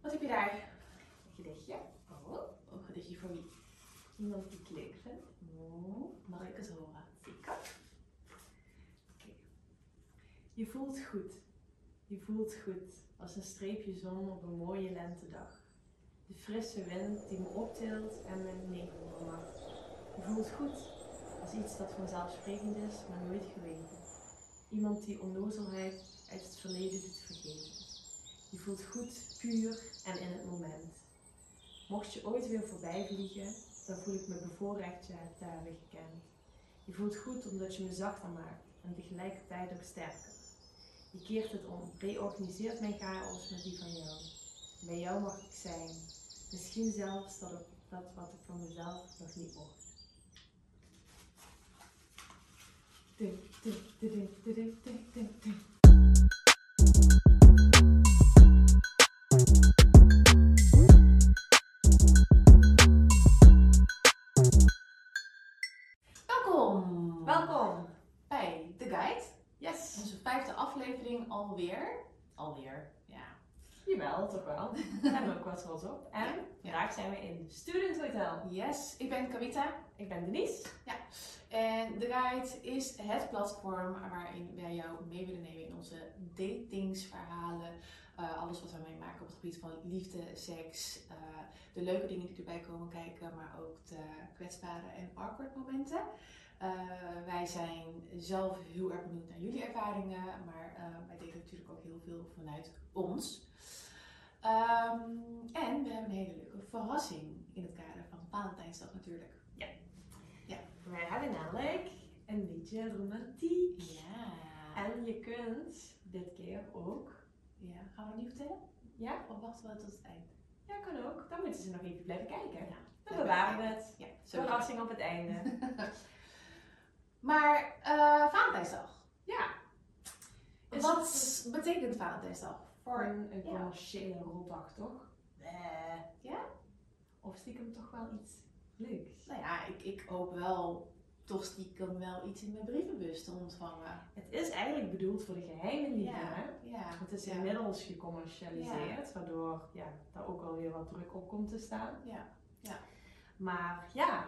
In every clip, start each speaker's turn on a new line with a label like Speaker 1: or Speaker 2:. Speaker 1: Wat heb je daar?
Speaker 2: Een gedichtje.
Speaker 1: Oh, een gedichtje voor wie?
Speaker 2: Iemand die het leuk vindt.
Speaker 1: Oh, mag ik het horen?
Speaker 2: Zeker. Oké. Je voelt goed. Je voelt goed als een streepje zon op een mooie lentedag. De frisse wind die me optilt en me neermaakt. Je voelt goed als iets dat vanzelfsprekend is, maar nooit geweten. Iemand die onnozelheid uit het verleden doet vergeten. Je voelt goed, puur en in het moment. Mocht je ooit weer voorbij vliegen, dan voel ik me bevoorrecht je te hebben gekend. Je voelt goed omdat je me zachter maakt en tegelijkertijd ook sterker. Je keert het om, reorganiseert mijn chaos met die van jou. Bij jou mag ik zijn, misschien zelfs dat, ik- dat wat ik van mezelf nog niet mocht. Ding, ding, ding, ding, ding, ding, ding, ding.
Speaker 1: Welkom!
Speaker 2: Welkom!
Speaker 1: bij The Guide.
Speaker 2: Yes!
Speaker 1: Onze vijfde aflevering alweer. Alweer, ja.
Speaker 2: Jawel, toch wel. Oh, Daar hebben we ook wat trots op. En vandaag zijn we in Student Hotel.
Speaker 1: Yes, ik ben Kawita
Speaker 2: Ik ben Denise.
Speaker 1: en The Guide is het platform waarin wij jou mee willen nemen in onze datingsverhalen. Eh, alles wat we meemaken op het gebied van liefde, seks, eh, de leuke dingen die erbij komen kijken, maar ook de kwetsbare en awkward momenten. Eh, wij zijn zelf heel erg benieuwd naar jullie ervaringen, maar eh, wij delen natuurlijk ook heel veel vanuit ons. Ehm, en we hebben een hele leuke verrassing in het kader van Valentijnsdag natuurlijk.
Speaker 2: Wij hebben namelijk een beetje romantiek.
Speaker 1: Ja.
Speaker 2: En je kunt dit keer ook.
Speaker 1: ja. Gaan we het nu vertellen?
Speaker 2: Ja?
Speaker 1: Of wachten we tot het eind?
Speaker 2: Ja, kan ook. Dan moeten ze nog even blijven kijken.
Speaker 1: Ja.
Speaker 2: Dan bewaren we het.
Speaker 1: Ja, sowieso.
Speaker 2: Verrassing op het einde.
Speaker 1: Maar eh Valentijnsdag.
Speaker 2: Ja. Is
Speaker 1: Wat
Speaker 2: het
Speaker 1: betekent Valentijnsdag? Voor...
Speaker 2: Gewoon een
Speaker 1: Ja.
Speaker 2: commerciële rotdag, toch? Eh.
Speaker 1: Ja?
Speaker 2: Of stiekem toch wel iets leuks?
Speaker 1: Nou ja, ik, ik hoop wel toch stiekem wel iets in mijn brievenbus te ontvangen.
Speaker 2: Het is eigenlijk bedoeld voor de geheime liefde, hè?
Speaker 1: Ja.
Speaker 2: Het is
Speaker 1: Ja.
Speaker 2: inmiddels gecommercialiseerd, waardoor ja, daar ook alweer wat druk op komt te staan.
Speaker 1: Ja.
Speaker 2: Maar ja,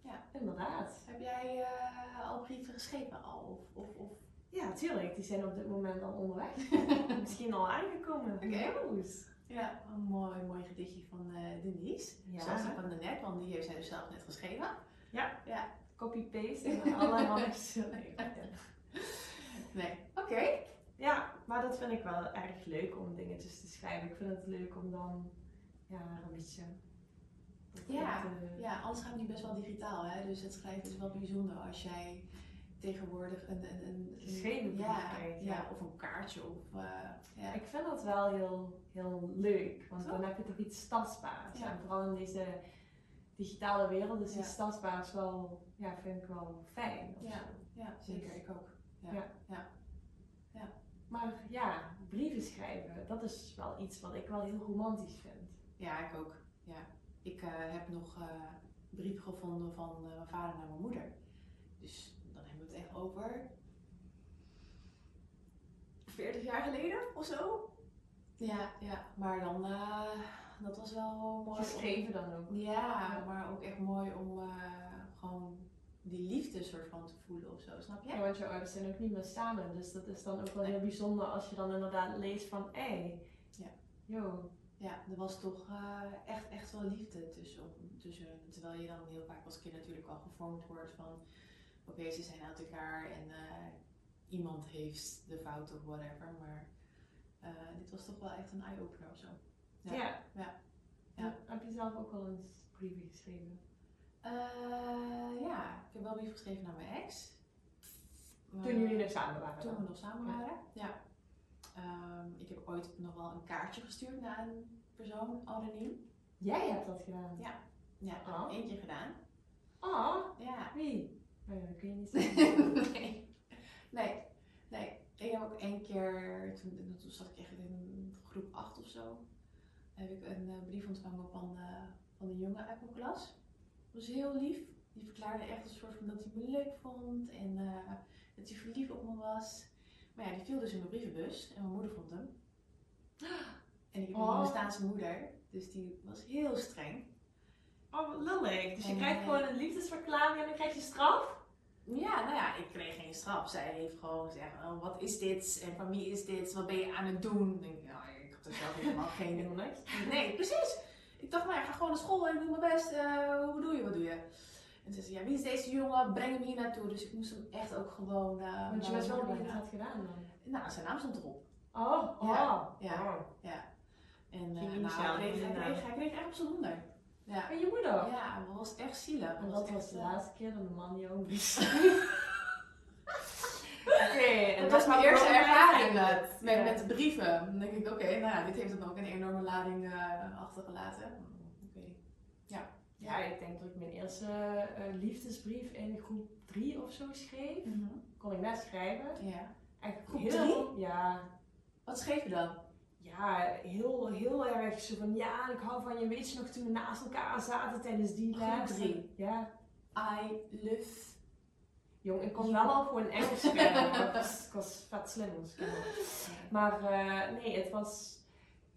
Speaker 1: Ja.
Speaker 2: inderdaad.
Speaker 1: Heb jij eh, al brieven geschreven al? Of, of, of...
Speaker 2: Ja, tuurlijk. Die zijn op dit moment al onderweg. Misschien al aangekomen. Who
Speaker 1: Oké.
Speaker 2: knows?
Speaker 1: Ja, een mooi, mooi gedichtje van eh, Denise.
Speaker 2: Ja.
Speaker 1: Zoals die van daarnet, want die heeft zij dus zelf net geschreven.
Speaker 2: Copy-paste en allemaal zullen.
Speaker 1: Nee. Oké.
Speaker 2: Ja, maar dat vind ik wel erg leuk om dingetjes te schrijven. Ik vind het leuk om dan ja, een beetje.
Speaker 1: Ja,
Speaker 2: dat, eh,
Speaker 1: Ja, alles gaat nu best wel digitaal, hè? dus het schrijven is wel bijzonder als jij tegenwoordig een... een, een een-
Speaker 2: Geschreven brief
Speaker 1: ja,
Speaker 2: krijgt,
Speaker 1: ja.
Speaker 2: ja.
Speaker 1: of een kaartje of... eh, ja.
Speaker 2: Ik vind dat wel heel, heel leuk, want
Speaker 1: Toch?
Speaker 2: dan heb je toch iets tastbaars.
Speaker 1: Ja.
Speaker 2: En vooral in deze digitale wereld is
Speaker 1: Ja.
Speaker 2: iets tastbaars wel, ja, vind ik wel fijn. of
Speaker 1: Ja.
Speaker 2: zo. Dus-
Speaker 1: ja, zeker, ik ook.
Speaker 2: Maar ja, brieven schrijven, dat is wel iets wat ik wel heel romantisch vind.
Speaker 1: Ja, ik ook. Ja. Ik eh, heb nog eh, een brief gevonden van eh, mijn vader naar mijn moeder. Dus dan hebben we het echt over... 40 jaar geleden of zo? Ja, ja. maar dan... eh, dat was wel mooi. om-
Speaker 2: Geschreven dan ook.
Speaker 1: Ja, maar ook echt mooi om eh, gewoon die liefde soort van te voelen of zo, snap
Speaker 2: Ja,
Speaker 1: je?
Speaker 2: want je ouders zijn ook niet meer samen, dus dat is dan ook wel heel bijzonder als je dan inderdaad leest van, hé,
Speaker 1: Ja.
Speaker 2: yo,
Speaker 1: Ja, er was toch eh, echt, echt wel liefde tussen, tussen hun. Terwijl je dan heel vaak als kind natuurlijk al gevormd wordt van, oké, ze zijn uit elkaar en eh, iemand heeft de fout of whatever. Maar eh, dit was toch wel echt een eye-opener of zo. Ja. Ja. Ja.
Speaker 2: Heb je zelf ook wel eens brieven geschreven?
Speaker 1: Eh, ja, ik heb wel een brief geschreven naar mijn ex. Eh,
Speaker 2: Toen jullie nog samen waren?
Speaker 1: Toen
Speaker 2: dan?
Speaker 1: we nog samen
Speaker 2: Ja.
Speaker 1: waren, ja. Ehm, ik heb ooit nog wel een kaartje gestuurd naar een persoon, anoniem.
Speaker 2: Jij hebt dat gedaan?
Speaker 1: Ja,
Speaker 2: Oh.
Speaker 1: eentje gedaan.
Speaker 2: Ah,
Speaker 1: Ja.
Speaker 2: Wie? Nee, dat kun je niet zeggen.
Speaker 1: nee. nee, nee. Ik heb ook één keer, toen, toen zat ik echt in groep 8 of zo, heb ik een eh, brief ontvangen van, eh, van een jongen uit mijn klas. Dat was heel lief. Die verklaarde echt een soort van dat hij me leuk vond en eh, dat hij verliefd op me was. Maar ja, die viel dus in mijn brievenbus en mijn moeder vond hem. En ik heb
Speaker 2: Oh.
Speaker 1: een Hindoestaanse moeder, dus die was heel streng.
Speaker 2: Oh, wat lullig. Dus je
Speaker 1: En,
Speaker 2: krijgt
Speaker 1: eh,
Speaker 2: gewoon een liefdesverklaring en dan krijg je straf?
Speaker 1: Ja, nou ja, ik kreeg geen straf. Zij heeft gewoon gezegd, oh, wat is dit? En van wie is dit? Wat ben je aan het doen? Ik denk, nou, ik had er zelf helemaal geen...
Speaker 2: niks.
Speaker 1: Nee, precies. Ik dacht, nou ja, ga gewoon naar school en ik doe mijn best. Eh, hoe bedoel je, wat doe je? En ze zei, ja, wie is deze jongen? Breng hem hier naartoe. Dus ik moest hem echt ook gewoon... eh,
Speaker 2: Want je
Speaker 1: naar
Speaker 2: was wel benieuwd
Speaker 1: mijn moeder
Speaker 2: wat had gedaan dan.
Speaker 1: laten. Nou, zijn naam stond erop.
Speaker 2: Oh, oh.
Speaker 1: Ja, ja.
Speaker 2: Oh.
Speaker 1: En eh
Speaker 2: Geen
Speaker 1: nou,
Speaker 2: initiaal,
Speaker 1: hij, kreeg, hij,
Speaker 2: inderdaad.
Speaker 1: kreeg, hij kreeg echt op zijn honderd. Ja.
Speaker 2: En je moeder?
Speaker 1: ja, dat was echt zielig.
Speaker 2: En
Speaker 1: Dat
Speaker 2: dat was
Speaker 1: echt,
Speaker 2: de
Speaker 1: eh,
Speaker 2: laatste keer dat een man jou een brief schreef. Oké, en
Speaker 1: Dat was mijn
Speaker 2: maar
Speaker 1: eerste
Speaker 2: gewoon
Speaker 1: ervaring
Speaker 2: eigenlijk.
Speaker 1: met, met,
Speaker 2: Ja.
Speaker 1: met de brieven. Dan denk ik, oké, nou ja, dit heeft dan ook een enorme lading eh, achtergelaten. Oké.
Speaker 2: Ja, ik denk dat ik mijn eerste eh, liefdesbrief in groep 3 of zo schreef. Kon ik net schrijven.
Speaker 1: Ja.
Speaker 2: Echt
Speaker 1: Groep
Speaker 2: heel, Ja,
Speaker 1: Wat schreef je dan?
Speaker 2: ja, heel, heel erg zo van ja, ik hou van je. Weet je nog toen we naast elkaar zaten tijdens die
Speaker 1: Groep
Speaker 2: les?
Speaker 1: drie.
Speaker 2: Ja,
Speaker 1: I love.
Speaker 2: jong, ik kon
Speaker 1: Ja.
Speaker 2: wel al voor een Engels schrijven. want ik was- ik was vet slim als kind. Maar eh, nee, het was.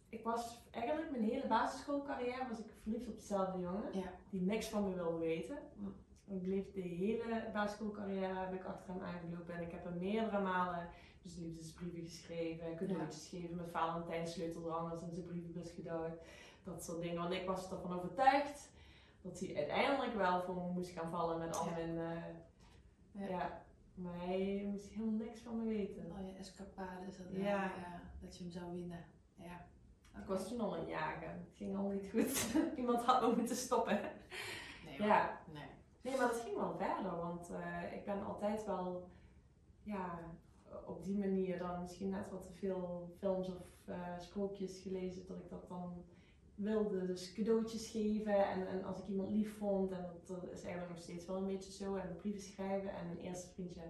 Speaker 2: Ik was eigenlijk mijn hele basisschoolcarrière was ik verliefd op dezelfde jongen
Speaker 1: Ja.
Speaker 2: die niks van me wilde weten.
Speaker 1: Mm.
Speaker 2: Ik bleef de hele basisschoolcarrière heb ik achter hem aangelopen en ik heb hem meerdere malen dus liefdesbrieven geschreven, cadeautjes gegeven, mijn Valentijnsleutel eraan was in zijn brievenbus gedouwd, dat soort dingen. Want ik was ervan overtuigd dat hij uiteindelijk wel voor me moest gaan vallen met al
Speaker 1: Ja.
Speaker 2: mijn. eh,
Speaker 1: Ja.
Speaker 2: ja, maar hij moest helemaal niks van me weten.
Speaker 1: Oh ja, escapades. Dat,
Speaker 2: Ja.
Speaker 1: ja, ja, dat je hem zou winnen. Ja.
Speaker 2: Ik was toen al een jager. Het ging al niet goed. Iemand had me moeten stoppen.
Speaker 1: Nee, hoor.
Speaker 2: Ja.
Speaker 1: Nee.
Speaker 2: Nee, maar het ging wel verder. Want eh, ik ben altijd wel, ja, op die manier dan misschien net wat te veel films of eh, sprookjes gelezen. Dat ik dat dan wilde. Dus cadeautjes geven. En, en als ik iemand lief vond. En dat, dat is eigenlijk nog steeds wel een beetje zo. En brieven schrijven. En mijn eerste vriendje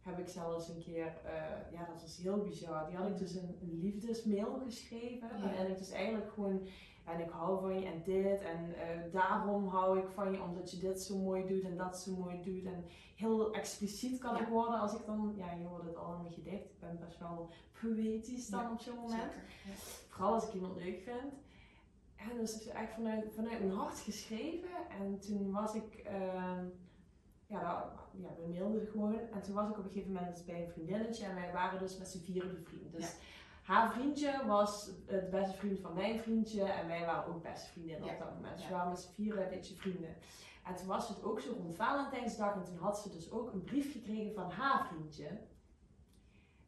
Speaker 2: heb ik zelfs een keer, eh, ja dat was heel bizar. Die had ik dus een, een liefdesmail geschreven.
Speaker 1: Ja.
Speaker 2: En ik dus eigenlijk gewoon, en ik hou van je en dit. En eh, daarom hou ik van je omdat je dit zo mooi doet en dat zo mooi doet. En heel expliciet kan
Speaker 1: Ja.
Speaker 2: ik worden als ik dan, ja je hoort het al in mijn gedicht. Ik ben best wel poëtisch dan
Speaker 1: Ja,
Speaker 2: op zo'n moment.
Speaker 1: Zeker. Ja.
Speaker 2: Vooral als ik iemand leuk vind. En dus het is echt vanuit, vanuit mijn hart geschreven. En toen was ik, ehm, ja, nou, ja, we mailden gewoon. En toen was ik op een gegeven moment dus bij een vriendinnetje. En wij waren dus met z'n vieren bevriend. Dus haar vriendje was het beste vriend van mijn vriendje. En wij waren ook beste vriendinnen
Speaker 1: Ja.
Speaker 2: op dat moment. Dus
Speaker 1: Ja.
Speaker 2: we waren met z'n vieren een beetje vrienden. En toen was het ook zo rond Valentijnsdag. En toen had ze dus ook een brief gekregen van haar vriendje.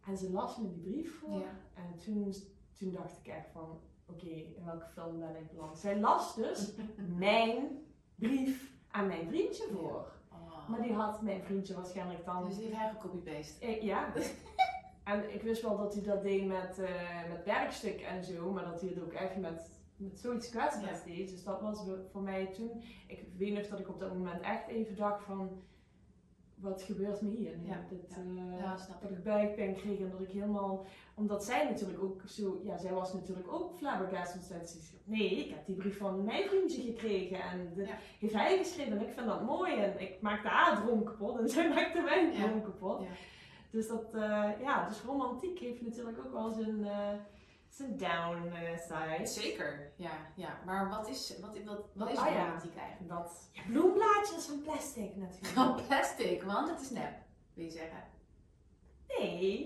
Speaker 2: En ze las me die brief voor.
Speaker 1: Ja.
Speaker 2: En toen, toen dacht ik echt van, oké, in welke film ben ik beland? Zij las dus mijn brief aan mijn vriendje voor.
Speaker 1: Oh.
Speaker 2: Maar die had mijn vriendje waarschijnlijk dan...
Speaker 1: Dus die heeft hij gecopy-paste.
Speaker 2: Eh, ja. En ik wist wel dat hij dat deed met, eh, met werkstuk en zo, maar dat hij het ook echt met, met zoiets kwetsbaars deed. Dus dat was wel voor mij toen... Ik weet nog dat ik op dat moment echt even dacht van, wat gebeurt me hier? nu?
Speaker 1: Ja,
Speaker 2: Dit,
Speaker 1: ja.
Speaker 2: eh,
Speaker 1: Ja, snap
Speaker 2: dat
Speaker 1: ik.
Speaker 2: ik buikpijn kreeg en dat ik helemaal, omdat zij natuurlijk ook zo, ja, zij was natuurlijk ook flabbergast, want zij zei, nee, ik heb die brief van mijn vriendje gekregen en dat
Speaker 1: Ja.
Speaker 2: heeft hij geschreven en ik vind dat mooi en ik maakte haar droom kapot en zij maakte mijn
Speaker 1: Ja.
Speaker 2: droom kapot.
Speaker 1: Ja.
Speaker 2: Dus dat, eh, ja, dus romantiek heeft natuurlijk ook wel zijn, eh, zijn down eh, side.
Speaker 1: Zeker. Ja, ja. Maar wat is, wat, wat, wat is
Speaker 2: Ah, ja.
Speaker 1: romantiek eigenlijk?
Speaker 2: Dat ja, bloemblaadjes van plastic natuurlijk.
Speaker 1: Van plastic, want het is nep, wil je zeggen.
Speaker 2: Nee,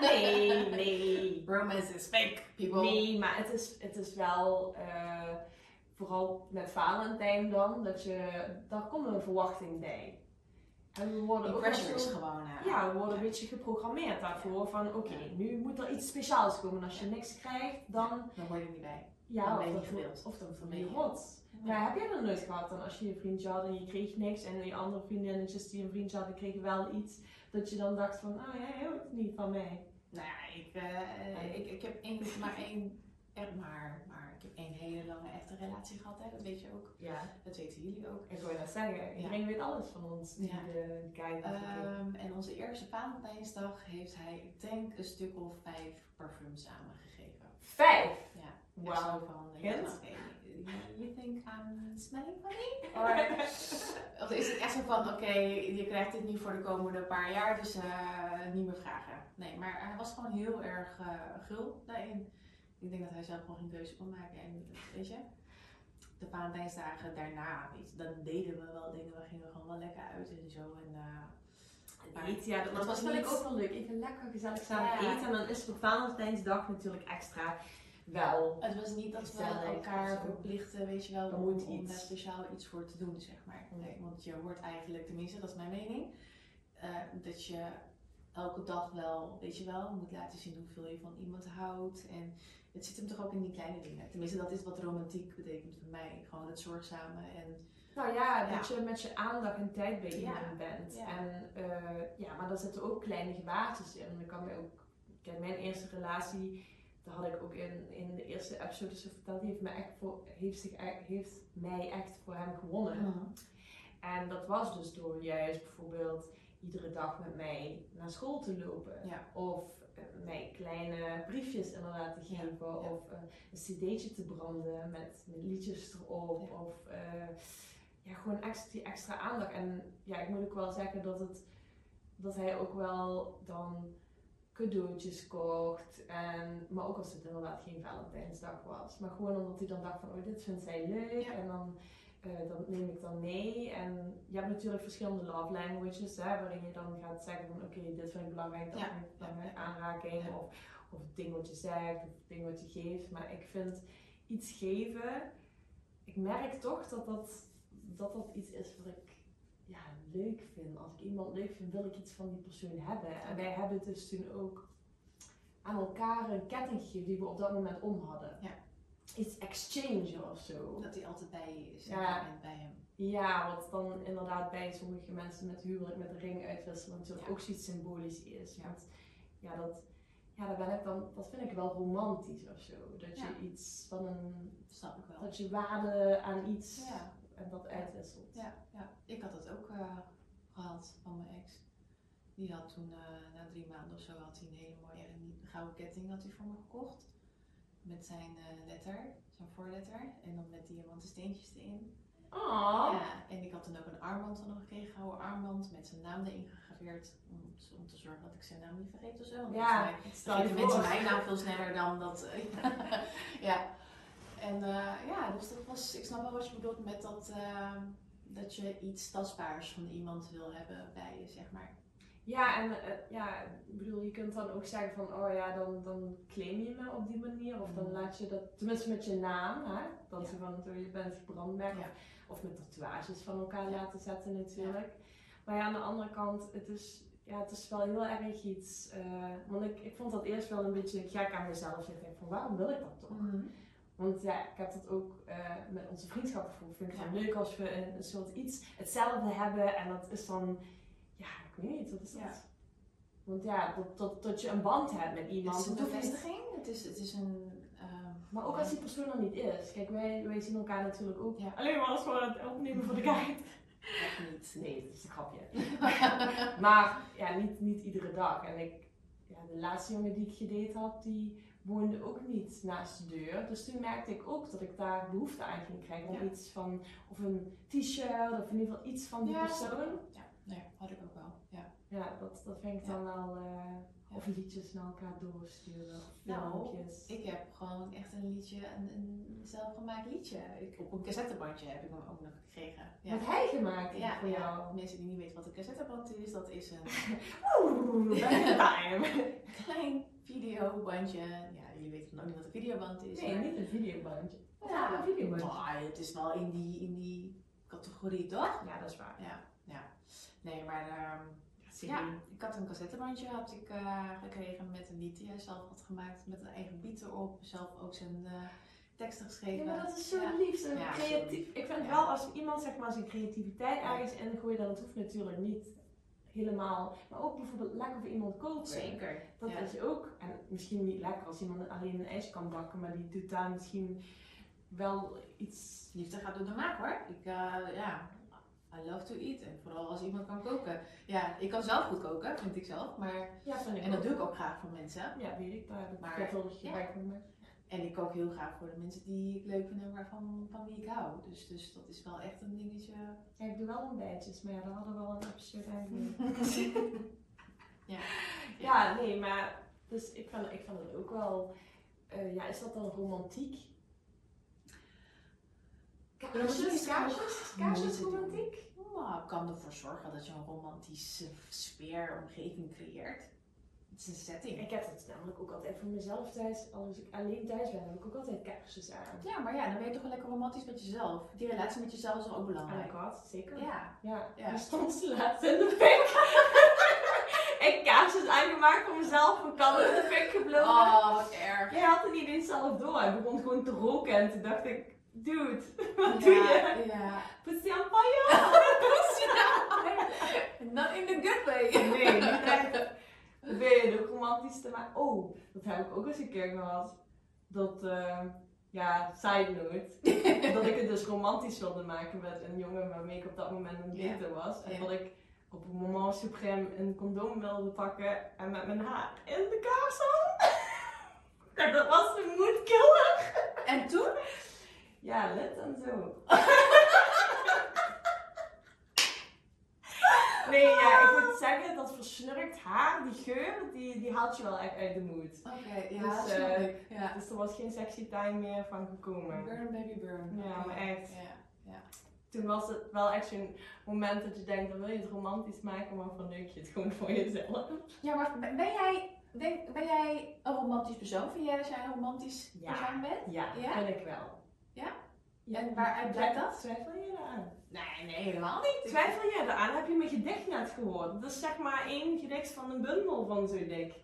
Speaker 2: nee, nee.
Speaker 1: Romance is fake, people.
Speaker 2: Nee, maar het is, het is wel, eh, vooral met Valentijn dan, dat je, daar komt een verwachting bij. En we worden
Speaker 1: Die
Speaker 2: ook
Speaker 1: pressure
Speaker 2: wel
Speaker 1: is
Speaker 2: zo-
Speaker 1: gewoon eh, aan.
Speaker 2: Ja, we worden een beetje geprogrammeerd daarvoor van oké,
Speaker 1: Ja.
Speaker 2: nu moet er iets speciaals komen. Als je niks krijgt, dan,
Speaker 1: Dan word je er niet bij. Dan
Speaker 2: ja,
Speaker 1: ben je
Speaker 2: of,
Speaker 1: niet
Speaker 2: dan,
Speaker 1: gewild.
Speaker 2: of dan voel
Speaker 1: ben
Speaker 2: je
Speaker 1: je
Speaker 2: je rot. Maar heb jij dat nooit gehad dan als je een vriendje had en je kreeg niks en die andere vriendinnetjes die een vriendje hadden kregen wel iets, dat je dan dacht van oh jij houdt het niet van mij.
Speaker 1: Nou ja, ik, eh, ik, ik heb één, maar één, echt maar, maar ik heb één hele lange echte relatie gehad, hè. dat weet je ook.
Speaker 2: Ja.
Speaker 1: Dat weten jullie ook.
Speaker 2: Ik wil dat zeggen, iedereen weet alles van ons, die
Speaker 1: Ja.
Speaker 2: de guide natuurlijk.
Speaker 1: Ehm, en onze eerste Valentijnsdag heeft hij, ik denk, een stuk of vijf parfums samengegeven.
Speaker 2: Vijf!
Speaker 1: Ja. Echt zo
Speaker 2: Wauw.
Speaker 1: van, eh,
Speaker 2: Gent?
Speaker 1: oké, you think I'm smelling funny? Or-
Speaker 2: Alright.
Speaker 1: Of is het echt zo van, oké, je krijgt dit niet voor de komende paar jaar, dus eh, niet meer vragen. Nee, maar hij was gewoon heel erg eh, gul daarin. Ik denk dat hij zelf gewoon geen keuze kon maken. En weet je, de Valentijnsdagen daarna, weet je, dan deden we wel dingen. We gingen gewoon wel lekker uit en zo. En, eh, maar-
Speaker 2: Eten, ja, dat,
Speaker 1: Dat
Speaker 2: was
Speaker 1: was
Speaker 2: natuurlijk
Speaker 1: niet-
Speaker 2: ook wel leuk. Even lekker gezellig samen
Speaker 1: Ja.
Speaker 2: eten. En dan is het op Valentijnsdag natuurlijk extra wel.
Speaker 1: het was niet dat we
Speaker 2: Gezellig of
Speaker 1: elkaar
Speaker 2: zo.
Speaker 1: verplichten, weet je wel,
Speaker 2: Er
Speaker 1: om,
Speaker 2: moet
Speaker 1: om
Speaker 2: iets.
Speaker 1: daar speciaal iets voor te doen, zeg maar.
Speaker 2: Nee.
Speaker 1: Nee, want je hoort eigenlijk, tenminste, dat is mijn mening, eh, dat je elke dag wel, weet je wel, moet laten zien hoeveel je van iemand houdt. En het zit hem toch ook in die kleine dingen. Tenminste, dat is wat romantiek betekent voor mij. Gewoon het zorgzame en
Speaker 2: Nou ja, dat
Speaker 1: Ja.
Speaker 2: je met je aandacht en tijd bij
Speaker 1: Ja.
Speaker 2: iemand bent.
Speaker 1: Ja.
Speaker 2: En eh, ja, maar daar zitten ook kleine gebaartjes in. Ik kan mij ook, kijk, mijn eerste relatie, daar had ik ook in, in de eerste episode zo verteld, die heeft mij echt voor, heeft, zich, e- heeft mij echt voor hem gewonnen. En dat was dus door juist bijvoorbeeld iedere dag met mij naar school te lopen.
Speaker 1: Ja.
Speaker 2: Of eh, mij kleine briefjes inderdaad te
Speaker 1: Ja,
Speaker 2: geven.
Speaker 1: ja.
Speaker 2: Of eh, een cd'tje te branden met, met liedjes erop.
Speaker 1: Ja.
Speaker 2: Of eh, ja, gewoon extra, die extra aandacht. En ja, ik moet ook wel zeggen dat, het, dat hij ook wel dan cadeautjes kocht. En, maar ook als het inderdaad geen Valentijnsdag was. Maar gewoon omdat hij dan dacht van, oh dit vindt zij leuk.
Speaker 1: Ja.
Speaker 2: En dan eh, dat neem ik dan mee. En je hebt natuurlijk verschillende love languages, hè, waarin je dan gaat zeggen van oké, dit vind ik belangrijk, dat
Speaker 1: Ja,
Speaker 2: vind ik belangrijk,
Speaker 1: ja, ja.
Speaker 2: aanraking
Speaker 1: Ja.
Speaker 2: Of, of het ding wat je zegt, of het ding wat je geeft. Maar ik vind iets geven, ik merk toch dat dat, dat, dat iets is wat ik ja, leuk vind. Als ik iemand leuk vind, wil ik iets van die persoon hebben. En wij hebben dus toen ook aan elkaar een ketting gegeven die we op dat moment om hadden.
Speaker 1: Ja.
Speaker 2: Iets exchange of zo.
Speaker 1: dat hij altijd bij je is.
Speaker 2: Ja.
Speaker 1: Ja. bij hem.
Speaker 2: Ja, wat dan inderdaad bij sommige mensen met huwelijk, met de ring uitwisselen, natuurlijk
Speaker 1: Ja.
Speaker 2: ook zoiets symbolisch is.
Speaker 1: Ja.
Speaker 2: Want ja, dat, ja daar ben ik dan, dat vind ik wel romantisch of zo. Dat je
Speaker 1: Ja.
Speaker 2: iets van een,
Speaker 1: Snap ik wel.
Speaker 2: dat je waarde aan iets
Speaker 1: Ja,
Speaker 2: en dat uitwisselt.
Speaker 1: ja, ja. Ik had dat ook eh, gehad van mijn ex. Die had toen, eh, na drie maanden of zo, had hij een hele mooie een gouden ketting had hij voor me gekocht. Met zijn eh, letter, zijn voorletter. En dan met diamanten steentjes erin.
Speaker 2: Oh,
Speaker 1: Ja, en ik had dan ook een armband van hem gekregen, een gouden armband. Met zijn naam erin gegraveerd. Om, om te zorgen dat ik zijn naam niet vergeet of zo. Want volgens mij
Speaker 2: ja, ik stel je
Speaker 1: de mensen
Speaker 2: voor.
Speaker 1: mijn naam veel sneller dan dat. eh, ja. En eh, ja, dus dat was, ik snap wel wat je bedoelt met dat, eh, dat je iets tastbaars van iemand wil hebben bij je, zeg maar.
Speaker 2: Ja, en eh, ja, ik bedoel, je kunt dan ook zeggen van, oh ja, dan, dan claim je me op die manier. Of dan
Speaker 1: Mhm.
Speaker 2: laat je dat, tenminste met je naam, hè. Dat
Speaker 1: Ja.
Speaker 2: ze van, oh, je bent gebrandmerkt.
Speaker 1: Ja.
Speaker 2: Of, of met tatoeages van elkaar
Speaker 1: Ja.
Speaker 2: laten zetten natuurlijk. Maar ja, aan de andere kant, het is, ja, het is wel heel erg iets. eh, want ik, ik vond dat eerst wel een beetje gek aan mezelf. Ik denk van, waarom wil ik dat toch? Want ja, ik heb dat ook eh, met onze vriendschap gevoeld. Vind ik het
Speaker 1: Ja.
Speaker 2: wel leuk als we een, een soort iets hetzelfde hebben. En dat is dan, ja, ik weet niet, wat is dat?
Speaker 1: Ja.
Speaker 2: Want ja, dat, dat, dat je een band hebt met
Speaker 1: Het
Speaker 2: iemand.
Speaker 1: is een
Speaker 2: dat is-
Speaker 1: bevestiging, het is, het is een... eh,
Speaker 2: maar ook als die persoon er niet is. Kijk, wij, wij zien elkaar natuurlijk ook.
Speaker 1: Ja.
Speaker 2: Alleen maar als we aan het opnemen voor de guide.
Speaker 1: echt niet.
Speaker 2: Nee, dat is een grapje. Maar ja, niet, niet iedere dag. En ik, ja, de laatste jongen die ik gedate had, die woonde ook niet naast de deur. Dus toen merkte ik ook dat ik daar behoefte aan ging krijgen. Om
Speaker 1: Ja.
Speaker 2: iets van, of een t-shirt, of in ieder geval iets van die
Speaker 1: Ja.
Speaker 2: persoon.
Speaker 1: ja, nee, had ik ook wel. Ja.
Speaker 2: Ja, dat, dat vind ik dan wel... eh, of liedjes naar elkaar doorsturen. Of
Speaker 1: Nou,
Speaker 2: filmpjes.
Speaker 1: Ik heb gewoon echt een liedje, een, een zelfgemaakt liedje. Ik, op een cassettebandje heb ik hem ook nog gekregen. Ja.
Speaker 2: Wat hij gemaakt heeft
Speaker 1: Ja,
Speaker 2: voor
Speaker 1: ja,
Speaker 2: jou.
Speaker 1: mensen die niet weten wat een cassetteband is, dat is een
Speaker 2: Oeh, back in time.
Speaker 1: klein videobandje. Ja, jullie weten nog niet wat een videoband is.
Speaker 2: Nee,
Speaker 1: maar-
Speaker 2: niet een videobandje.
Speaker 1: Ja.
Speaker 2: Ja, een videobandje.
Speaker 1: Maar het is wel in die, in die categorie, toch?
Speaker 2: Ja, dat is waar.
Speaker 1: Ja, ja. Nee, maar ehm,
Speaker 2: Zie je.
Speaker 1: ja, ik had een cassettebandje had ik, eh, gekregen met een lied die hij zelf had gemaakt. Met een eigen beat erop. Zelf ook zijn eh, teksten
Speaker 2: Ja,
Speaker 1: geschreven.
Speaker 2: maar dat is zo
Speaker 1: Ja.
Speaker 2: lief. Zo
Speaker 1: Ja,
Speaker 2: creatief. Ik vind
Speaker 1: Ja.
Speaker 2: wel als iemand zeg maar, zijn creativiteit ergens in gooit, dan het hoeft natuurlijk niet helemaal. Maar ook bijvoorbeeld lekker voor iemand koken.
Speaker 1: Zeker.
Speaker 2: Dat
Speaker 1: Ja.
Speaker 2: is ook. En misschien niet lekker als iemand alleen een ijsje kan bakken, maar die doet daar misschien wel iets.
Speaker 1: Liefde gaat door de maak hoor. Ik, eh, ja, I love to eat. En vooral als iemand kan koken. Ja, ik kan zelf goed koken, vind ik zelf. Maar,
Speaker 2: Ja, vind ik
Speaker 1: en dat
Speaker 2: ook.
Speaker 1: doe ik ook graag voor mensen.
Speaker 2: Ja, weet ik. Daar heb ik
Speaker 1: Maar-
Speaker 2: veelvuldig
Speaker 1: ja.
Speaker 2: gebruik van gemaakt.
Speaker 1: En ik kook heel graag voor de mensen die ik leuk vind en waarvan van wie ik hou. Dus, dus dat is wel echt een dingetje.
Speaker 2: Ja, ik doe wel ontbijtjes, maar ja, daar hadden we al een episode aan.
Speaker 1: Ja.
Speaker 2: Ja, nee, maar dus ik vind, ik vind het ook wel Eh, ja, is dat dan romantiek?
Speaker 1: Kaarsjes, kaarsjes, kaarsjes
Speaker 2: romantiek?
Speaker 1: Nou, ik kan ervoor zorgen dat je een romantische sfeer, omgeving creëert. Het is een setting.
Speaker 2: Ik heb dat namelijk ook altijd voor mezelf thuis. Als ik alleen thuis ben, heb ik ook altijd kaarsjes aan.
Speaker 1: Ja, maar ja, dan ben je toch wel lekker romantisch met jezelf. Die relatie met jezelf is wel ook
Speaker 2: Aan de
Speaker 1: belangrijk.
Speaker 2: kat, zeker.
Speaker 1: Oh Ja.
Speaker 2: Ja,
Speaker 1: Ja.
Speaker 2: die stond te laat in de pik. en kaarsjes aangemaakt voor mezelf, een kan in de pik geblozen.
Speaker 1: Oh, wat erg.
Speaker 2: Jij had het niet eens zelf door. Hij begon gewoon te roken en toen dacht ik, dude, wat
Speaker 1: ja,
Speaker 2: doe je?
Speaker 1: Ja.
Speaker 2: Put the fire!
Speaker 1: Not in the good way.
Speaker 2: Nee, niet echt. Dan ben je ook romantisch te maken. Oh, dat heb ik ook eens een keer gehad. Dat, eh, ja, side note. dat ik het dus romantisch wilde maken met een jongen waarmee ik op dat moment een
Speaker 1: Ja.
Speaker 2: date was. En
Speaker 1: Ja.
Speaker 2: dat ik op een moment supreme een condoom wilde pakken en met mijn haar in de kaars had. En dat was de moedkiller.
Speaker 1: En toen?
Speaker 2: Ja, let en zo. Nee, ja, ik moet zeggen, dat versnurkt haar, die geur, die, die haalt je wel echt uit de moed.
Speaker 1: Oké, ja,
Speaker 2: Dus,
Speaker 1: snap
Speaker 2: eh,
Speaker 1: ik. Ja.
Speaker 2: Dus er was geen sexy time meer van gekomen.
Speaker 1: Burn, baby, burn.
Speaker 2: Ja,
Speaker 1: Oké.
Speaker 2: maar echt.
Speaker 1: Ja.
Speaker 2: Toen was het wel echt zo'n moment dat je denkt, dan wil je het romantisch maken, maar verneuk je het gewoon voor jezelf.
Speaker 1: Ja, maar ben jij, denk, ben jij een romantisch persoon? Vind jij dat jij een romantisch
Speaker 2: Ja.
Speaker 1: persoon bent?
Speaker 2: Ja,
Speaker 1: Ja?
Speaker 2: vind ik wel.
Speaker 1: Ja?
Speaker 2: Ja.
Speaker 1: En waaruit blijkt dat?
Speaker 2: Twijfel je eraan?
Speaker 1: Nee, nee, helemaal niet.
Speaker 2: Twijfel jij eraan? Heb je mijn gedicht net gehoord? Dat is zeg maar één gedicht van een bundel van zo dik.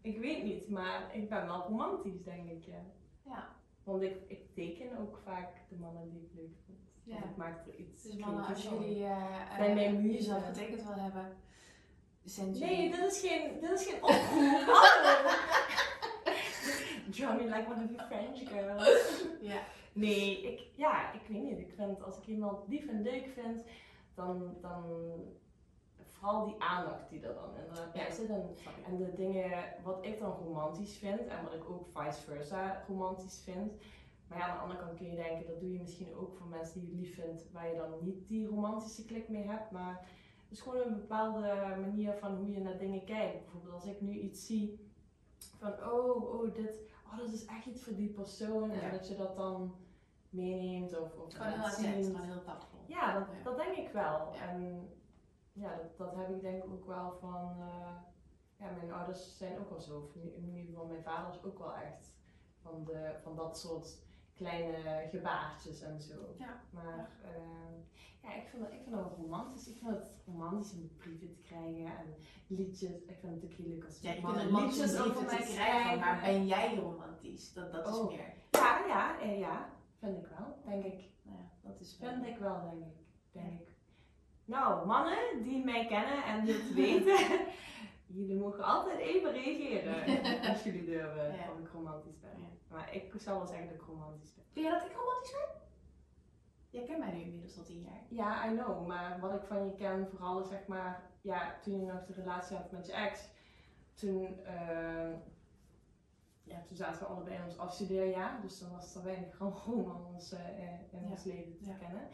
Speaker 2: Ik weet niet, maar ik ben wel romantisch, denk ik, ja.
Speaker 1: Ja.
Speaker 2: Want ik, ik teken ook vaak de mannen die ik leuk vind.
Speaker 1: Ja.
Speaker 2: Ja. Ik maak er iets
Speaker 1: Dus mannen, als
Speaker 2: creatiefs van.
Speaker 1: jullie eh,
Speaker 2: Bij
Speaker 1: eh,
Speaker 2: mijn muze.
Speaker 1: jezelf getekend wil hebben, zend
Speaker 2: Nee,
Speaker 1: jullie-
Speaker 2: dit is geen, dit is geen oproep. Hallo. Draw me like one of your French girls.
Speaker 1: Ja.
Speaker 2: Nee,
Speaker 1: Dus
Speaker 2: ik, ja, ik weet niet. Ik vind als ik iemand lief en leuk vind, dan, dan vooral die aandacht die er dan inderdaad bij
Speaker 1: Ja.
Speaker 2: zit. En, en de dingen wat ik dan romantisch vind en wat ik ook vice versa romantisch vind. Maar ja, aan de andere kant kun je denken, dat doe je misschien ook voor mensen die je lief vindt, waar je dan niet die romantische klik mee hebt. Maar het is gewoon een bepaalde manier van hoe je naar dingen kijkt. Bijvoorbeeld als ik nu iets zie van, oh, oh, dit, oh, dat is echt iets voor die persoon.
Speaker 1: Ja.
Speaker 2: En dat je dat dan meeneemt of, of
Speaker 1: Gewoon heel
Speaker 2: laat
Speaker 1: attent,
Speaker 2: zien.
Speaker 1: gewoon heel tactvol.
Speaker 2: Ja, dat,
Speaker 1: Ja.
Speaker 2: dat denk ik wel.
Speaker 1: Ja.
Speaker 2: En ja, dat, dat heb ik denk ik ook wel van, eh, ja, mijn ouders zijn ook wel zo. Of in in ieder geval mijn vader is ook wel echt van, de, van dat soort kleine gebaartjes en zo.
Speaker 1: Ja.
Speaker 2: Maar eh, ja, ik vind, dat, ik vind dat wel romantisch. Ik vind het romantisch om brieven te krijgen en liedjes. Ik vind het ook heel leuk als
Speaker 1: Ja, je kunt
Speaker 2: mannen
Speaker 1: een romantische brieven te krijgen, maar ben jij romantisch? Dat, dat is
Speaker 2: Oh.
Speaker 1: meer.
Speaker 2: Ja, ja, eh, ja. Vind ik wel, denk ik.
Speaker 1: Nou ja, dat is meer.
Speaker 2: Dus Vind ik wel, denk ik. Denk ik. Nou, mannen die mij kennen en dit weten, jullie mogen altijd even reageren als jullie durven
Speaker 1: Ja.
Speaker 2: of ik romantisch ben.
Speaker 1: Ja.
Speaker 2: Maar ik zou wel zeggen dat ik romantisch ben.
Speaker 1: Vind je dat ik romantisch ben? Jij kent mij nu inmiddels al tien jaar.
Speaker 2: Ja, I know, maar wat ik van je ken, vooral is zeg maar, ja, toen je nog de relatie had met je ex, toen, eh, ja, toen zaten we allebei in ons afstudeerjaar, dus dan was er weinig romans eh, eh, in
Speaker 1: Ja.
Speaker 2: ons leven te
Speaker 1: Ja.
Speaker 2: kennen.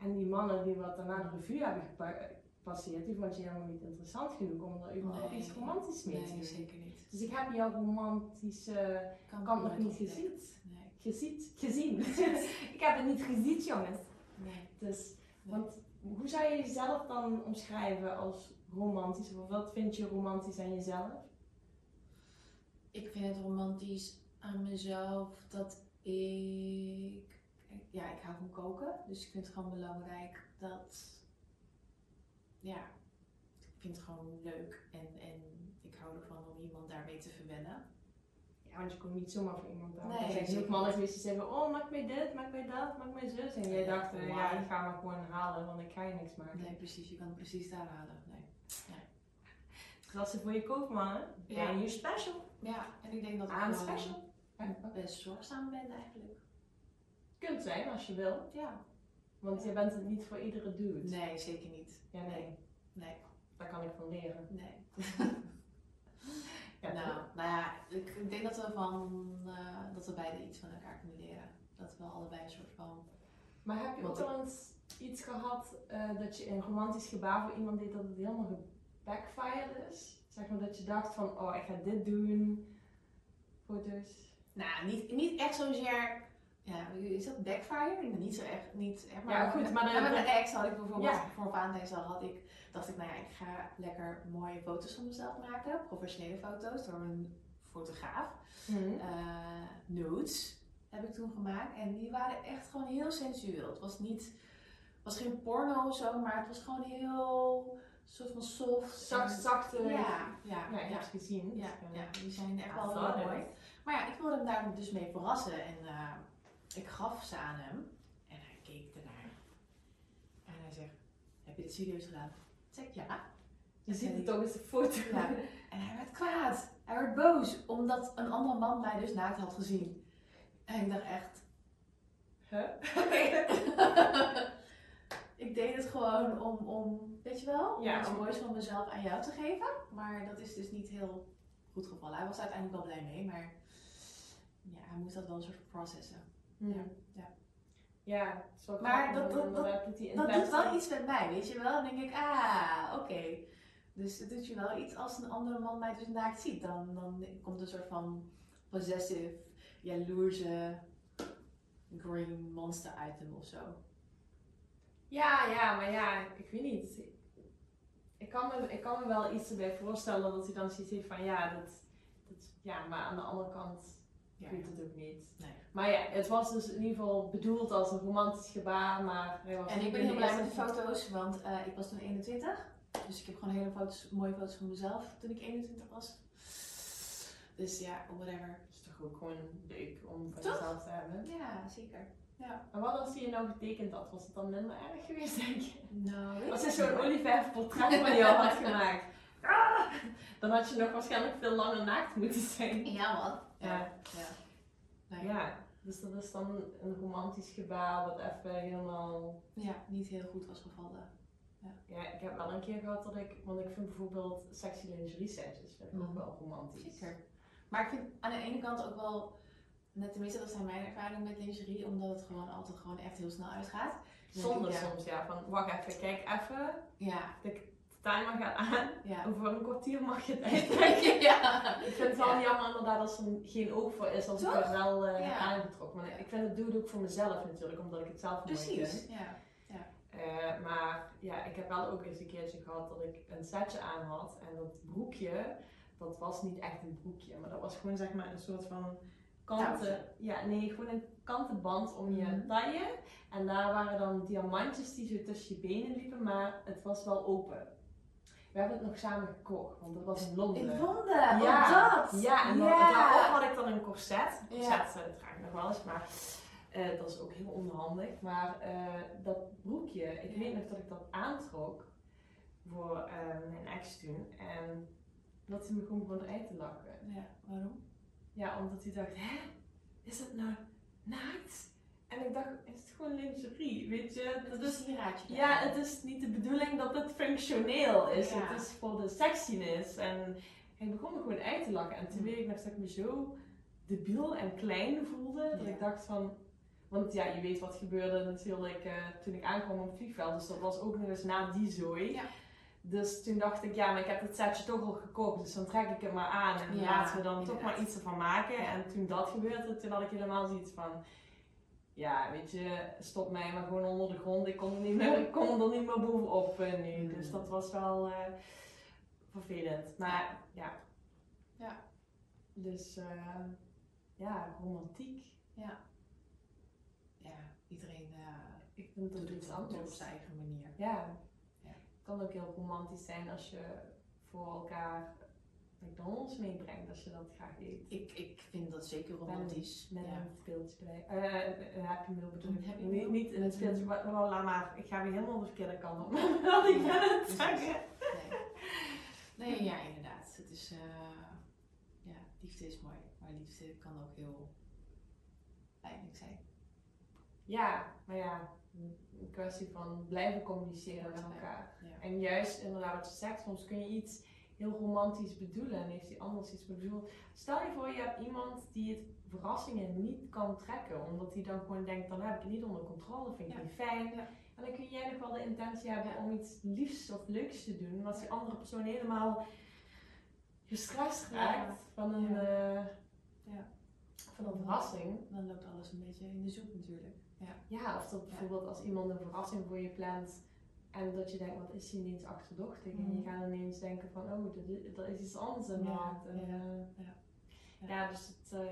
Speaker 2: En die mannen die wat daarna de revue hebben gepa- gepasseerd, die vond je helemaal niet interessant genoeg om er überhaupt
Speaker 1: Nee.
Speaker 2: iets romantisch mee te
Speaker 1: Nee,
Speaker 2: doen.
Speaker 1: zeker niet.
Speaker 2: Dus ik heb jouw romantische kant nog
Speaker 1: nooit
Speaker 2: niet
Speaker 1: ontdekken.
Speaker 2: gezien.
Speaker 1: Nee,
Speaker 2: Geziet? Gezien. ik heb het niet gezien, jongens.
Speaker 1: nee.
Speaker 2: Dus
Speaker 1: Nee.
Speaker 2: want hoe zou je jezelf dan omschrijven als romantisch? Of wat vind je romantisch aan jezelf?
Speaker 1: Ik vind het romantisch aan mezelf dat ik. Ja, ik hou van koken. Dus ik vind het gewoon belangrijk dat. Ja, ik vind het gewoon leuk en, en ik hou ervan om iemand daarmee te verwennen.
Speaker 2: Ja, want je komt niet zomaar voor iemand aan.
Speaker 1: Nee,
Speaker 2: er zijn
Speaker 1: zeker
Speaker 2: ook mannen geweest die zeggen, oh maak mij dit, maak mij dat, maak mij zus. En jij dacht, eh, ja,
Speaker 1: Why?
Speaker 2: ik ga maar gewoon halen, want ik ga je niks maken.
Speaker 1: Nee, precies. Je kan het precies daar halen. Nee.
Speaker 2: Dus als ze voor je koopt, mannen,
Speaker 1: Ja.
Speaker 2: ben je special.
Speaker 1: Ja, en ik denk dat ik
Speaker 2: Aan
Speaker 1: wel
Speaker 2: special. Ja.
Speaker 1: best zorgzaam ben eigenlijk.
Speaker 2: Kunt zijn als je wil,
Speaker 1: Ja.
Speaker 2: want je bent het niet voor iedere dude.
Speaker 1: Nee, zeker niet.
Speaker 2: Ja, nee,
Speaker 1: Nee,
Speaker 2: daar kan ik van leren.
Speaker 1: nee.
Speaker 2: Ja,
Speaker 1: nou,
Speaker 2: toch?
Speaker 1: nou ja, ik, ik denk dat we van eh, dat we beide iets van elkaar kunnen leren. Dat we allebei een soort van.
Speaker 2: Maar heb je ook
Speaker 1: Want
Speaker 2: wel eens iets gehad eh, dat je een romantisch gebaar voor iemand deed dat het helemaal gebackfired is? Zeg maar dat je dacht van, oh ik ga dit doen. Foto's.
Speaker 1: Nou, niet, niet echt zozeer. Ja, is dat backfire? Nou, Niet zo echt. Niet, echt maar
Speaker 2: Ja, goed, maar dan-
Speaker 1: met mijn ex had ik bijvoorbeeld
Speaker 2: Ja.
Speaker 1: voor Valentijns Dag had ik, dacht ik, nou ja, ik ga lekker mooie foto's van mezelf maken. Professionele foto's door een fotograaf. eh, nudes heb ik toen gemaakt. En die waren echt gewoon heel sensueel. Het was niet, was geen porno of zo, maar het was gewoon heel soort van soft.
Speaker 2: Zacht, eh,
Speaker 1: en-
Speaker 2: zachte.
Speaker 1: Ja, ja,
Speaker 2: Ja, ik heb
Speaker 1: ja.
Speaker 2: het gezien.
Speaker 1: Ja, ja, die zijn echt
Speaker 2: Dus, eh, Ja,
Speaker 1: wel heel
Speaker 2: vader.
Speaker 1: mooi. Maar ja, ik wilde hem daar dus mee verrassen. En eh, ik gaf ze aan hem. En hij keek ernaar. En hij zegt, heb je dit serieus gedaan? Ik zeg, ja.
Speaker 2: Je ziet het ook eens de foto.
Speaker 1: Ja. En hij werd kwaad. Hij werd boos. Omdat een andere man mij dus naakt had gezien. En ik dacht echt...
Speaker 2: Huh?
Speaker 1: ik deed het gewoon om, om weet je wel,
Speaker 2: Ja,
Speaker 1: om iets
Speaker 2: om-
Speaker 1: moois van mezelf aan jou te geven. Maar dat is dus niet heel goed gevallen. Hij was er uiteindelijk wel blij mee, maar ja, hij moest dat wel een soort van processen. Ja, ja.
Speaker 2: Ja, het is wel
Speaker 1: Maar
Speaker 2: grappig,
Speaker 1: dat-
Speaker 2: want
Speaker 1: dat-
Speaker 2: inderdaad die
Speaker 1: Dat doet wel
Speaker 2: intentie-
Speaker 1: iets met mij, weet je wel? Dan denk ik, ah, oké. Dus het doet je wel iets als een andere man mij dus naakt ziet. Dan, dan komt een soort van possessive, jaloerse, green monster item of zo.
Speaker 2: Ja, ja, maar ja, ik weet niet. Ik kan me, ik kan me wel iets erbij voorstellen dat hij dan zoiets heeft van ja, dat, dat, ja maar aan de andere kant
Speaker 1: Ja,
Speaker 2: weet het ook niet.
Speaker 1: Nee.
Speaker 2: Maar ja, het was dus in ieder geval bedoeld als een romantisch gebaar, maar hij was
Speaker 1: En
Speaker 2: niet
Speaker 1: ik ben
Speaker 2: in
Speaker 1: heel blij met de
Speaker 2: eerste
Speaker 1: foto's, want eh, ik was toen 21. Dus ik heb gewoon hele foto's, mooie foto's van mezelf toen ik 21 was. Dus ja, whatever.
Speaker 2: Het is toch ook gewoon leuk om van
Speaker 1: Toch?
Speaker 2: jezelf te hebben.
Speaker 1: Ja, zeker.
Speaker 2: En wat als hij je nou getekend had? Was het dan minder erg geweest, denk je?
Speaker 1: Nou, weet
Speaker 2: Als
Speaker 1: ik
Speaker 2: hij zo'n
Speaker 1: niet.
Speaker 2: olieverfportret van jou had gemaakt, ah, dan had je nog waarschijnlijk veel langer naakt moeten zijn.
Speaker 1: Ja, man.
Speaker 2: Ja.
Speaker 1: ja. Nee.
Speaker 2: Ja, dus dat is dan een romantisch gebaar wat even helemaal...
Speaker 1: Ja, niet heel goed was gevallen.
Speaker 2: Ja, ik heb wel een keer gehad dat ik... Want ik vind bijvoorbeeld sexy lingerie sessies vind ik ook
Speaker 1: Mhm.
Speaker 2: wel romantisch.
Speaker 1: Zeker. Maar ik vind aan de ene kant ook wel, net tenminste dat zijn mijn ervaringen met lingerie, omdat het gewoon altijd gewoon echt heel snel uitgaat.
Speaker 2: Zonde
Speaker 1: Ja.
Speaker 2: soms, ja. Van, wacht even, kijk even.
Speaker 1: Ja,
Speaker 2: De timer gaat aan.
Speaker 1: ja.
Speaker 2: Over een kwartier mag je het uittrekken.
Speaker 1: ja.
Speaker 2: Ik vind het wel jammer inderdaad als er geen oog voor is, als het
Speaker 1: Toch?
Speaker 2: er wel eh,
Speaker 1: Ja.
Speaker 2: aangetrokken. Maar ik vind het doe het ook voor mezelf natuurlijk, omdat ik het zelf mooi vind.
Speaker 1: Precies. Ja.
Speaker 2: Eh, maar ja, ik heb wel ook eens een keertje gehad dat ik een setje aan had. En dat broekje, dat was niet echt een broekje, maar dat was gewoon zeg maar een soort van kanten.
Speaker 1: Touwtje.
Speaker 2: Ja, nee, gewoon een kanten band om je
Speaker 1: Mhm.
Speaker 2: taille. En daar waren dan diamantjes die zo tussen je benen liepen, maar het was wel open. We hebben het nog samen gekocht, want dat was in Londen.
Speaker 1: In Londen,
Speaker 2: Ja.
Speaker 1: oh dat!
Speaker 2: Ja, en dan,
Speaker 1: Ja.
Speaker 2: daarop had ik dan een corset.
Speaker 1: Ja.
Speaker 2: Corset eh, draag ik nog wel eens, maar eh, dat is ook heel onhandig. Maar eh, dat broekje, ik
Speaker 1: Ja.
Speaker 2: weet nog dat ik dat aantrok voor eh, mijn ex toen. En dat hij me gewoon begon uit te lachen.
Speaker 1: Ja, waarom?
Speaker 2: Ja, omdat hij dacht, hè? Is dat nou naakt? En ik dacht, is het gewoon lingerie, weet je? Dat is...
Speaker 1: een raadje.
Speaker 2: Ja, het is niet de bedoeling dat het functioneel is.
Speaker 1: Ja.
Speaker 2: Het is voor de sexiness. En hij begon me gewoon uit te lachen. En toen
Speaker 1: Mm.
Speaker 2: weet ik nog dat ik me zo debiel en klein voelde. Dat
Speaker 1: Ja.
Speaker 2: ik dacht van... Want ja, je weet wat gebeurde natuurlijk eh, toen ik aankwam op het vliegveld. Dus dat was ook nog eens na die zooi.
Speaker 1: Ja.
Speaker 2: Dus toen dacht ik, ja, maar ik heb het setje toch al gekocht. Dus dan trek ik het maar aan. En
Speaker 1: Ja,
Speaker 2: laten we dan toch
Speaker 1: inderdaad.
Speaker 2: maar iets ervan maken.
Speaker 1: Ja.
Speaker 2: En toen dat gebeurde, toen had ik helemaal zoiets van... Ja, weet je, stop mij maar gewoon onder de grond. Ik kon er niet meer, ik kon er niet meer bovenop eh, nu. Dus dat was wel eh, vervelend. Maar ja.
Speaker 1: Ja.
Speaker 2: Dus eh, ja, romantiek.
Speaker 1: Ja, iedereen eh
Speaker 2: Ik vind dat
Speaker 1: doet het
Speaker 2: iets
Speaker 1: altijd op
Speaker 2: anders.
Speaker 1: zijn eigen manier.
Speaker 2: Ja.
Speaker 1: Ja.
Speaker 2: Het kan ook heel romantisch zijn als je voor elkaar McDonald's meebrengt, als je dat graag eet.
Speaker 1: Ik, ik vind dat zeker romantisch.
Speaker 2: Met
Speaker 1: ja.
Speaker 2: een speeltje bij. Eh, een happy meal bedoel
Speaker 1: Een
Speaker 2: ik.
Speaker 1: Happy
Speaker 2: Niet,
Speaker 1: Meal?
Speaker 2: niet een
Speaker 1: Met
Speaker 2: speeltje,
Speaker 1: een-
Speaker 2: maar maar laat maar. Ik ga weer helemaal de verkeerde kant op. Wat ik
Speaker 1: Ja,
Speaker 2: ben het
Speaker 1: precies.
Speaker 2: zeggen.
Speaker 1: Nee. nee, ja, inderdaad. Het is, eh, ja, liefde is mooi, maar liefde kan ook heel pijnlijk zijn.
Speaker 2: Ja, maar ja, een kwestie van blijven communiceren met
Speaker 1: Ja.
Speaker 2: elkaar.
Speaker 1: Ja.
Speaker 2: En juist inderdaad wat je zegt, soms kun je iets heel romantisch bedoelen en heeft die anders iets bedoeld. Stel je voor, je hebt iemand die het verrassingen niet kan trekken, omdat hij dan gewoon denkt, dan heb ik het niet onder controle, vind ik
Speaker 1: Ja.
Speaker 2: niet fijn.
Speaker 1: Ja.
Speaker 2: En dan kun jij nog wel de intentie hebben
Speaker 1: Ja.
Speaker 2: om iets liefs of leuks te doen, maar als die andere persoon helemaal gestrest
Speaker 1: Ja.
Speaker 2: raakt van een...
Speaker 1: Ja.
Speaker 2: eh,
Speaker 1: Ja.
Speaker 2: van een verrassing.
Speaker 1: Dan loopt alles een beetje in de zoek natuurlijk.
Speaker 2: Ja, of dat bijvoorbeeld als iemand een verrassing voor je plant en dat je denkt, wat is die ineens achterdochtig? En je
Speaker 1: Mhm.
Speaker 2: gaat ineens denken van, oh, dat is, dat is iets anders aan de
Speaker 1: Ja,
Speaker 2: hand. En,
Speaker 1: ja,
Speaker 2: eh,
Speaker 1: ja.
Speaker 2: ja. dus het, eh,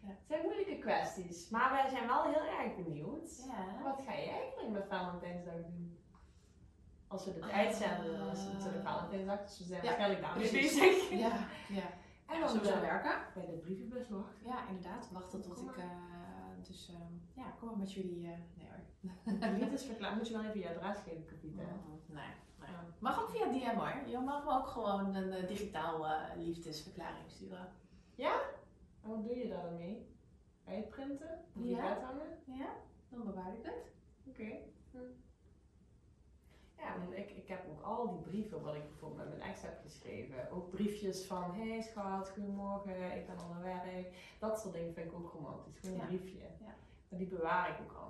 Speaker 1: Ja.
Speaker 2: het zijn moeilijke kwesties. Maar wij zijn wel heel erg benieuwd.
Speaker 1: Ja.
Speaker 2: Wat ga jij eigenlijk met Valentijnsdag doen? Als we dit
Speaker 1: Ah. eh,
Speaker 2: uitzenden, dan is het natuurlijk Valentijnsdag, dus we zijn
Speaker 1: Ja,
Speaker 2: waarschijnlijk daarmee
Speaker 1: precies.
Speaker 2: bezig.
Speaker 1: Ja, ja.
Speaker 2: En
Speaker 1: ja
Speaker 2: dan
Speaker 1: sowieso
Speaker 2: eh,
Speaker 1: werken.
Speaker 2: bij de brievenbus wachten.
Speaker 1: Ja, inderdaad. Wachten tot
Speaker 2: Kom
Speaker 1: ik. eh, dus ehm, ja, kom maar met jullie. eh, nee hoor.
Speaker 2: Niet is verklaard, moet je wel even je adres geven, Capita.
Speaker 1: Nee. nee. Mag ook via DM hoor. Je mag me ook gewoon een eh, digitaal eh, liefdesverklaring sturen.
Speaker 2: En wat doe je daar dan mee? Uitprinten? Of je
Speaker 1: Ja.
Speaker 2: bed hangen?
Speaker 1: Ja, dan bewaar ik het.
Speaker 2: Oké. Hm. Ja, want ik, ik heb ook al die brieven wat ik bijvoorbeeld met mijn ex heb geschreven. Ook briefjes van, hey schat, goedemorgen, ik ben al aan het werk. Dat soort dingen vind ik ook romantisch. Gewoon een
Speaker 1: Ja.
Speaker 2: briefje.
Speaker 1: Ja.
Speaker 2: Maar die bewaar ik ook allemaal.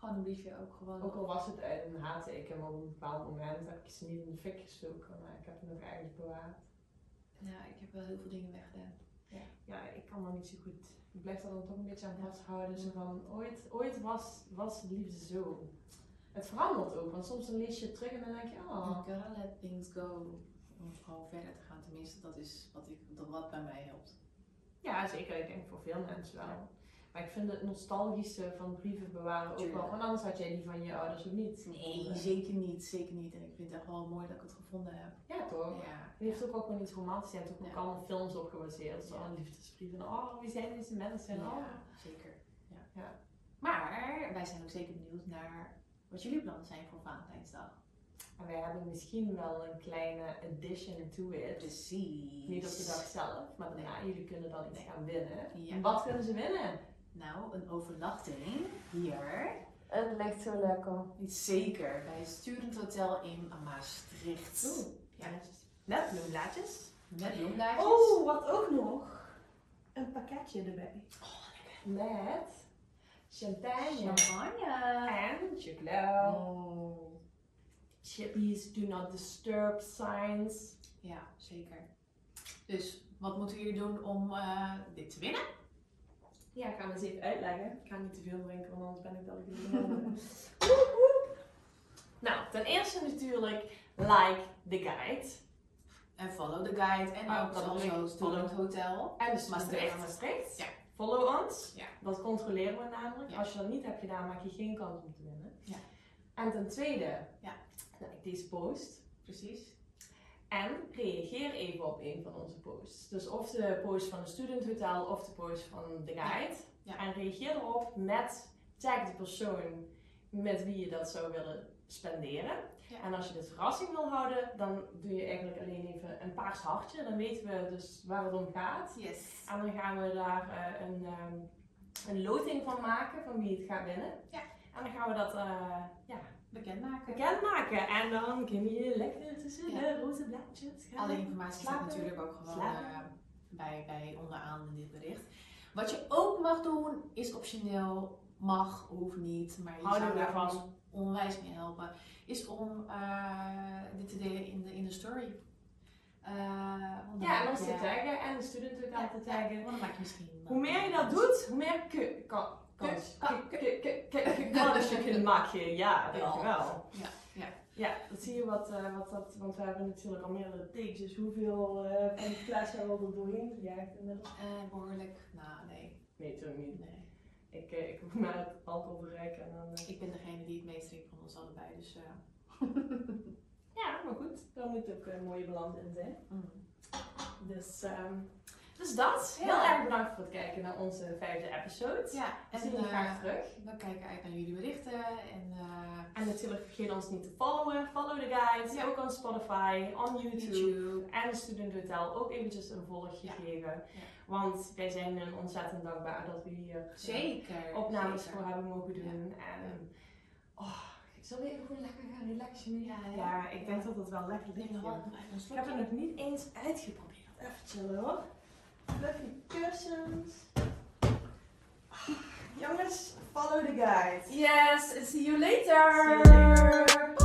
Speaker 1: Gewoon een briefje ook gewoon.
Speaker 2: Ook al was het uit een haatteken, maar op een bepaald moment heb ik ze niet in de fik gestoken, maar ik heb het nog ergens bewaard.
Speaker 1: Ja, ik heb wel heel veel dingen weggedaan.
Speaker 2: Ja, ik kan dat niet zo goed. Ik blijf daar dan toch een beetje aan vasthouden. Zo van, ooit, ooit was, was liefde zo. Het verandert ook, want soms dan lees je het terug en dan denk je, oh,
Speaker 1: You gotta let things go. Om gewoon verder te gaan. Tenminste, dat is wat, ik, dat wat bij mij helpt.
Speaker 2: ja zeker, ik denk voor veel mensen wel. Maar ik vind het nostalgische van brieven bewaren ook wel,
Speaker 1: Tuurlijk.
Speaker 2: want anders had jij die van je ouders ook niet.
Speaker 1: Nee, zeker niet. Zeker niet. En ik vind het echt wel mooi dat ik het gevonden heb.
Speaker 2: Ja toch?
Speaker 1: Ja.
Speaker 2: Je heeft ook wel gewoon iets romantisch, je hebt ook, ook
Speaker 1: Ja.
Speaker 2: allemaal films op gebaseerd, dus
Speaker 1: Ja.
Speaker 2: alle liefdesbrieven. Oh, wie zijn deze mensen? Oh,
Speaker 1: Ja, zeker. Ja.
Speaker 2: Ja.
Speaker 1: Maar wij zijn ook zeker benieuwd naar wat jullie plannen zijn voor Valentijnsdag.
Speaker 2: En wij hebben misschien wel een kleine addition to it.
Speaker 1: Precies.
Speaker 2: Niet op de dag zelf, maar daarna. Jullie kunnen dan iets
Speaker 1: Nee.
Speaker 2: gaan winnen.
Speaker 1: Ja.
Speaker 2: En wat kunnen ze winnen?
Speaker 1: Nou, een overnachting hier.
Speaker 2: Het ligt zo lekker.
Speaker 1: Zeker, bij het Student Hotel in Maastricht.
Speaker 2: Oeh,
Speaker 1: Ja.
Speaker 2: blaadjes. Net bloemblaadjes.
Speaker 1: Met bloemlaadjes.
Speaker 2: Oh, wat ook nog. Een pakketje erbij. Oh, Met champagne.
Speaker 1: Champagne.
Speaker 2: En chocola.
Speaker 1: Oh.
Speaker 2: Chippies, do not disturb signs.
Speaker 1: Ja, zeker. Dus wat moeten jullie doen om eh, dit te winnen?
Speaker 2: Ja, ik ga hem eens even uitleggen. Ik ga niet te veel drinken, want anders ben ik wel Nou, ten eerste natuurlijk, like the guide.
Speaker 1: En follow the guide en
Speaker 2: Ah,
Speaker 1: ook
Speaker 2: dat bedoel
Speaker 1: sowieso
Speaker 2: ik.
Speaker 1: Student Hotel.
Speaker 2: En dus
Speaker 1: Maastricht.
Speaker 2: Maastricht.
Speaker 1: Ja.
Speaker 2: Follow ons.
Speaker 1: Ja.
Speaker 2: Dat controleren we namelijk.
Speaker 1: Ja.
Speaker 2: Als je dat niet hebt gedaan, maak je geen kans om te winnen.
Speaker 1: Ja.
Speaker 2: En ten tweede,
Speaker 1: Ja.
Speaker 2: like deze post.
Speaker 1: Precies.
Speaker 2: En reageer even op een van onze posts. Dus of de post van de Student Hotel of de post van de guide.
Speaker 1: Ja.
Speaker 2: En reageer erop met tag de persoon met wie je dat zou willen spenderen.
Speaker 1: Ja.
Speaker 2: En als je dit verrassing wil houden, dan doe je eigenlijk alleen even een paars hartje. Dan weten we dus waar het om gaat.
Speaker 1: Yes.
Speaker 2: En dan gaan we daar eh, een, ehm, een loting van maken van wie het gaat winnen.
Speaker 1: Ja.
Speaker 2: En dan gaan we dat eh, ja,
Speaker 1: Bekendmaken.
Speaker 2: bekendmaken. En dan kun je lekker tussen
Speaker 1: Ja.
Speaker 2: de roze blaadjes gaan.
Speaker 1: Alle informatie staat
Speaker 2: Slapen.
Speaker 1: natuurlijk ook gewoon
Speaker 2: Slapen.
Speaker 1: eh, bij, bij onderaan in dit bericht. Wat je ook mag doen, is optioneel. Mag, hoeft niet, maar je
Speaker 2: Houden
Speaker 1: zou
Speaker 2: we
Speaker 1: daar
Speaker 2: ervan.
Speaker 1: ons onwijs mee helpen. Is om eh, dit te delen in de, in de story. Eh, want dan
Speaker 2: Ja, en
Speaker 1: maak
Speaker 2: ons te
Speaker 1: je-
Speaker 2: taggen en de student ook aan te taggen.
Speaker 1: want dan maak je misschien. eh,
Speaker 2: Hoe meer je dat doet, hoe meer ke- ka- kans
Speaker 1: Ka-
Speaker 2: ke- ke- ke- ke- ke- kans dus je kunt maken. Ja, dankjewel.
Speaker 1: Ja, ja.
Speaker 2: Ja, dan zie je wat, eh, wat dat, want we hebben natuurlijk al meerdere takes, dus hoeveel eh, van die fles hebben we er doorheen gejaagd inmiddels?
Speaker 1: Eh, behoorlijk. Nou, nee.
Speaker 2: Nee, natuurlijk niet.
Speaker 1: nee.
Speaker 2: Ik, eh, ik hoef maar het alcohol bereiken en dan... eh,
Speaker 1: Ik ben degene die het meest drinkt van ons allebei, dus. eh,
Speaker 2: Ja, maar goed, daar moet ook een mooie balans in zijn.
Speaker 1: mm.
Speaker 2: Dus, ehm, dus dat. Heel
Speaker 1: Ja.
Speaker 2: erg bedankt voor het kijken naar onze vijfde episode.
Speaker 1: Ja,
Speaker 2: We
Speaker 1: en
Speaker 2: zien jullie
Speaker 1: eh,
Speaker 2: graag terug.
Speaker 1: we kijken uit naar jullie berichten en. eh,
Speaker 2: En natuurlijk vergeet ons niet te followen. Follow the guides,
Speaker 1: Ja.
Speaker 2: ook on Spotify, on YouTube.
Speaker 1: YouTube.
Speaker 2: En de Student Hotel ook eventjes een volg
Speaker 1: Ja.
Speaker 2: gegeven. Want wij zijn hun ontzettend dankbaar dat we hier eh,
Speaker 1: Zeker.
Speaker 2: opnames
Speaker 1: zeker.
Speaker 2: voor hebben mogen doen. En oh, ik zal weer gewoon lekker gaan relaxen.
Speaker 1: Ja, hè?
Speaker 2: ja, ik denk dat dat wel lekker
Speaker 1: Ik
Speaker 2: ligt.
Speaker 1: denk
Speaker 2: joh.
Speaker 1: wel bij ons
Speaker 2: Ik heb het
Speaker 1: slokje.
Speaker 2: nog niet eens uitgeprobeerd. Even chillen hoor. Fluffy kussens. Ah, Jongens, follow the guide.
Speaker 1: Yes, see you
Speaker 2: See you later.
Speaker 1: Bye.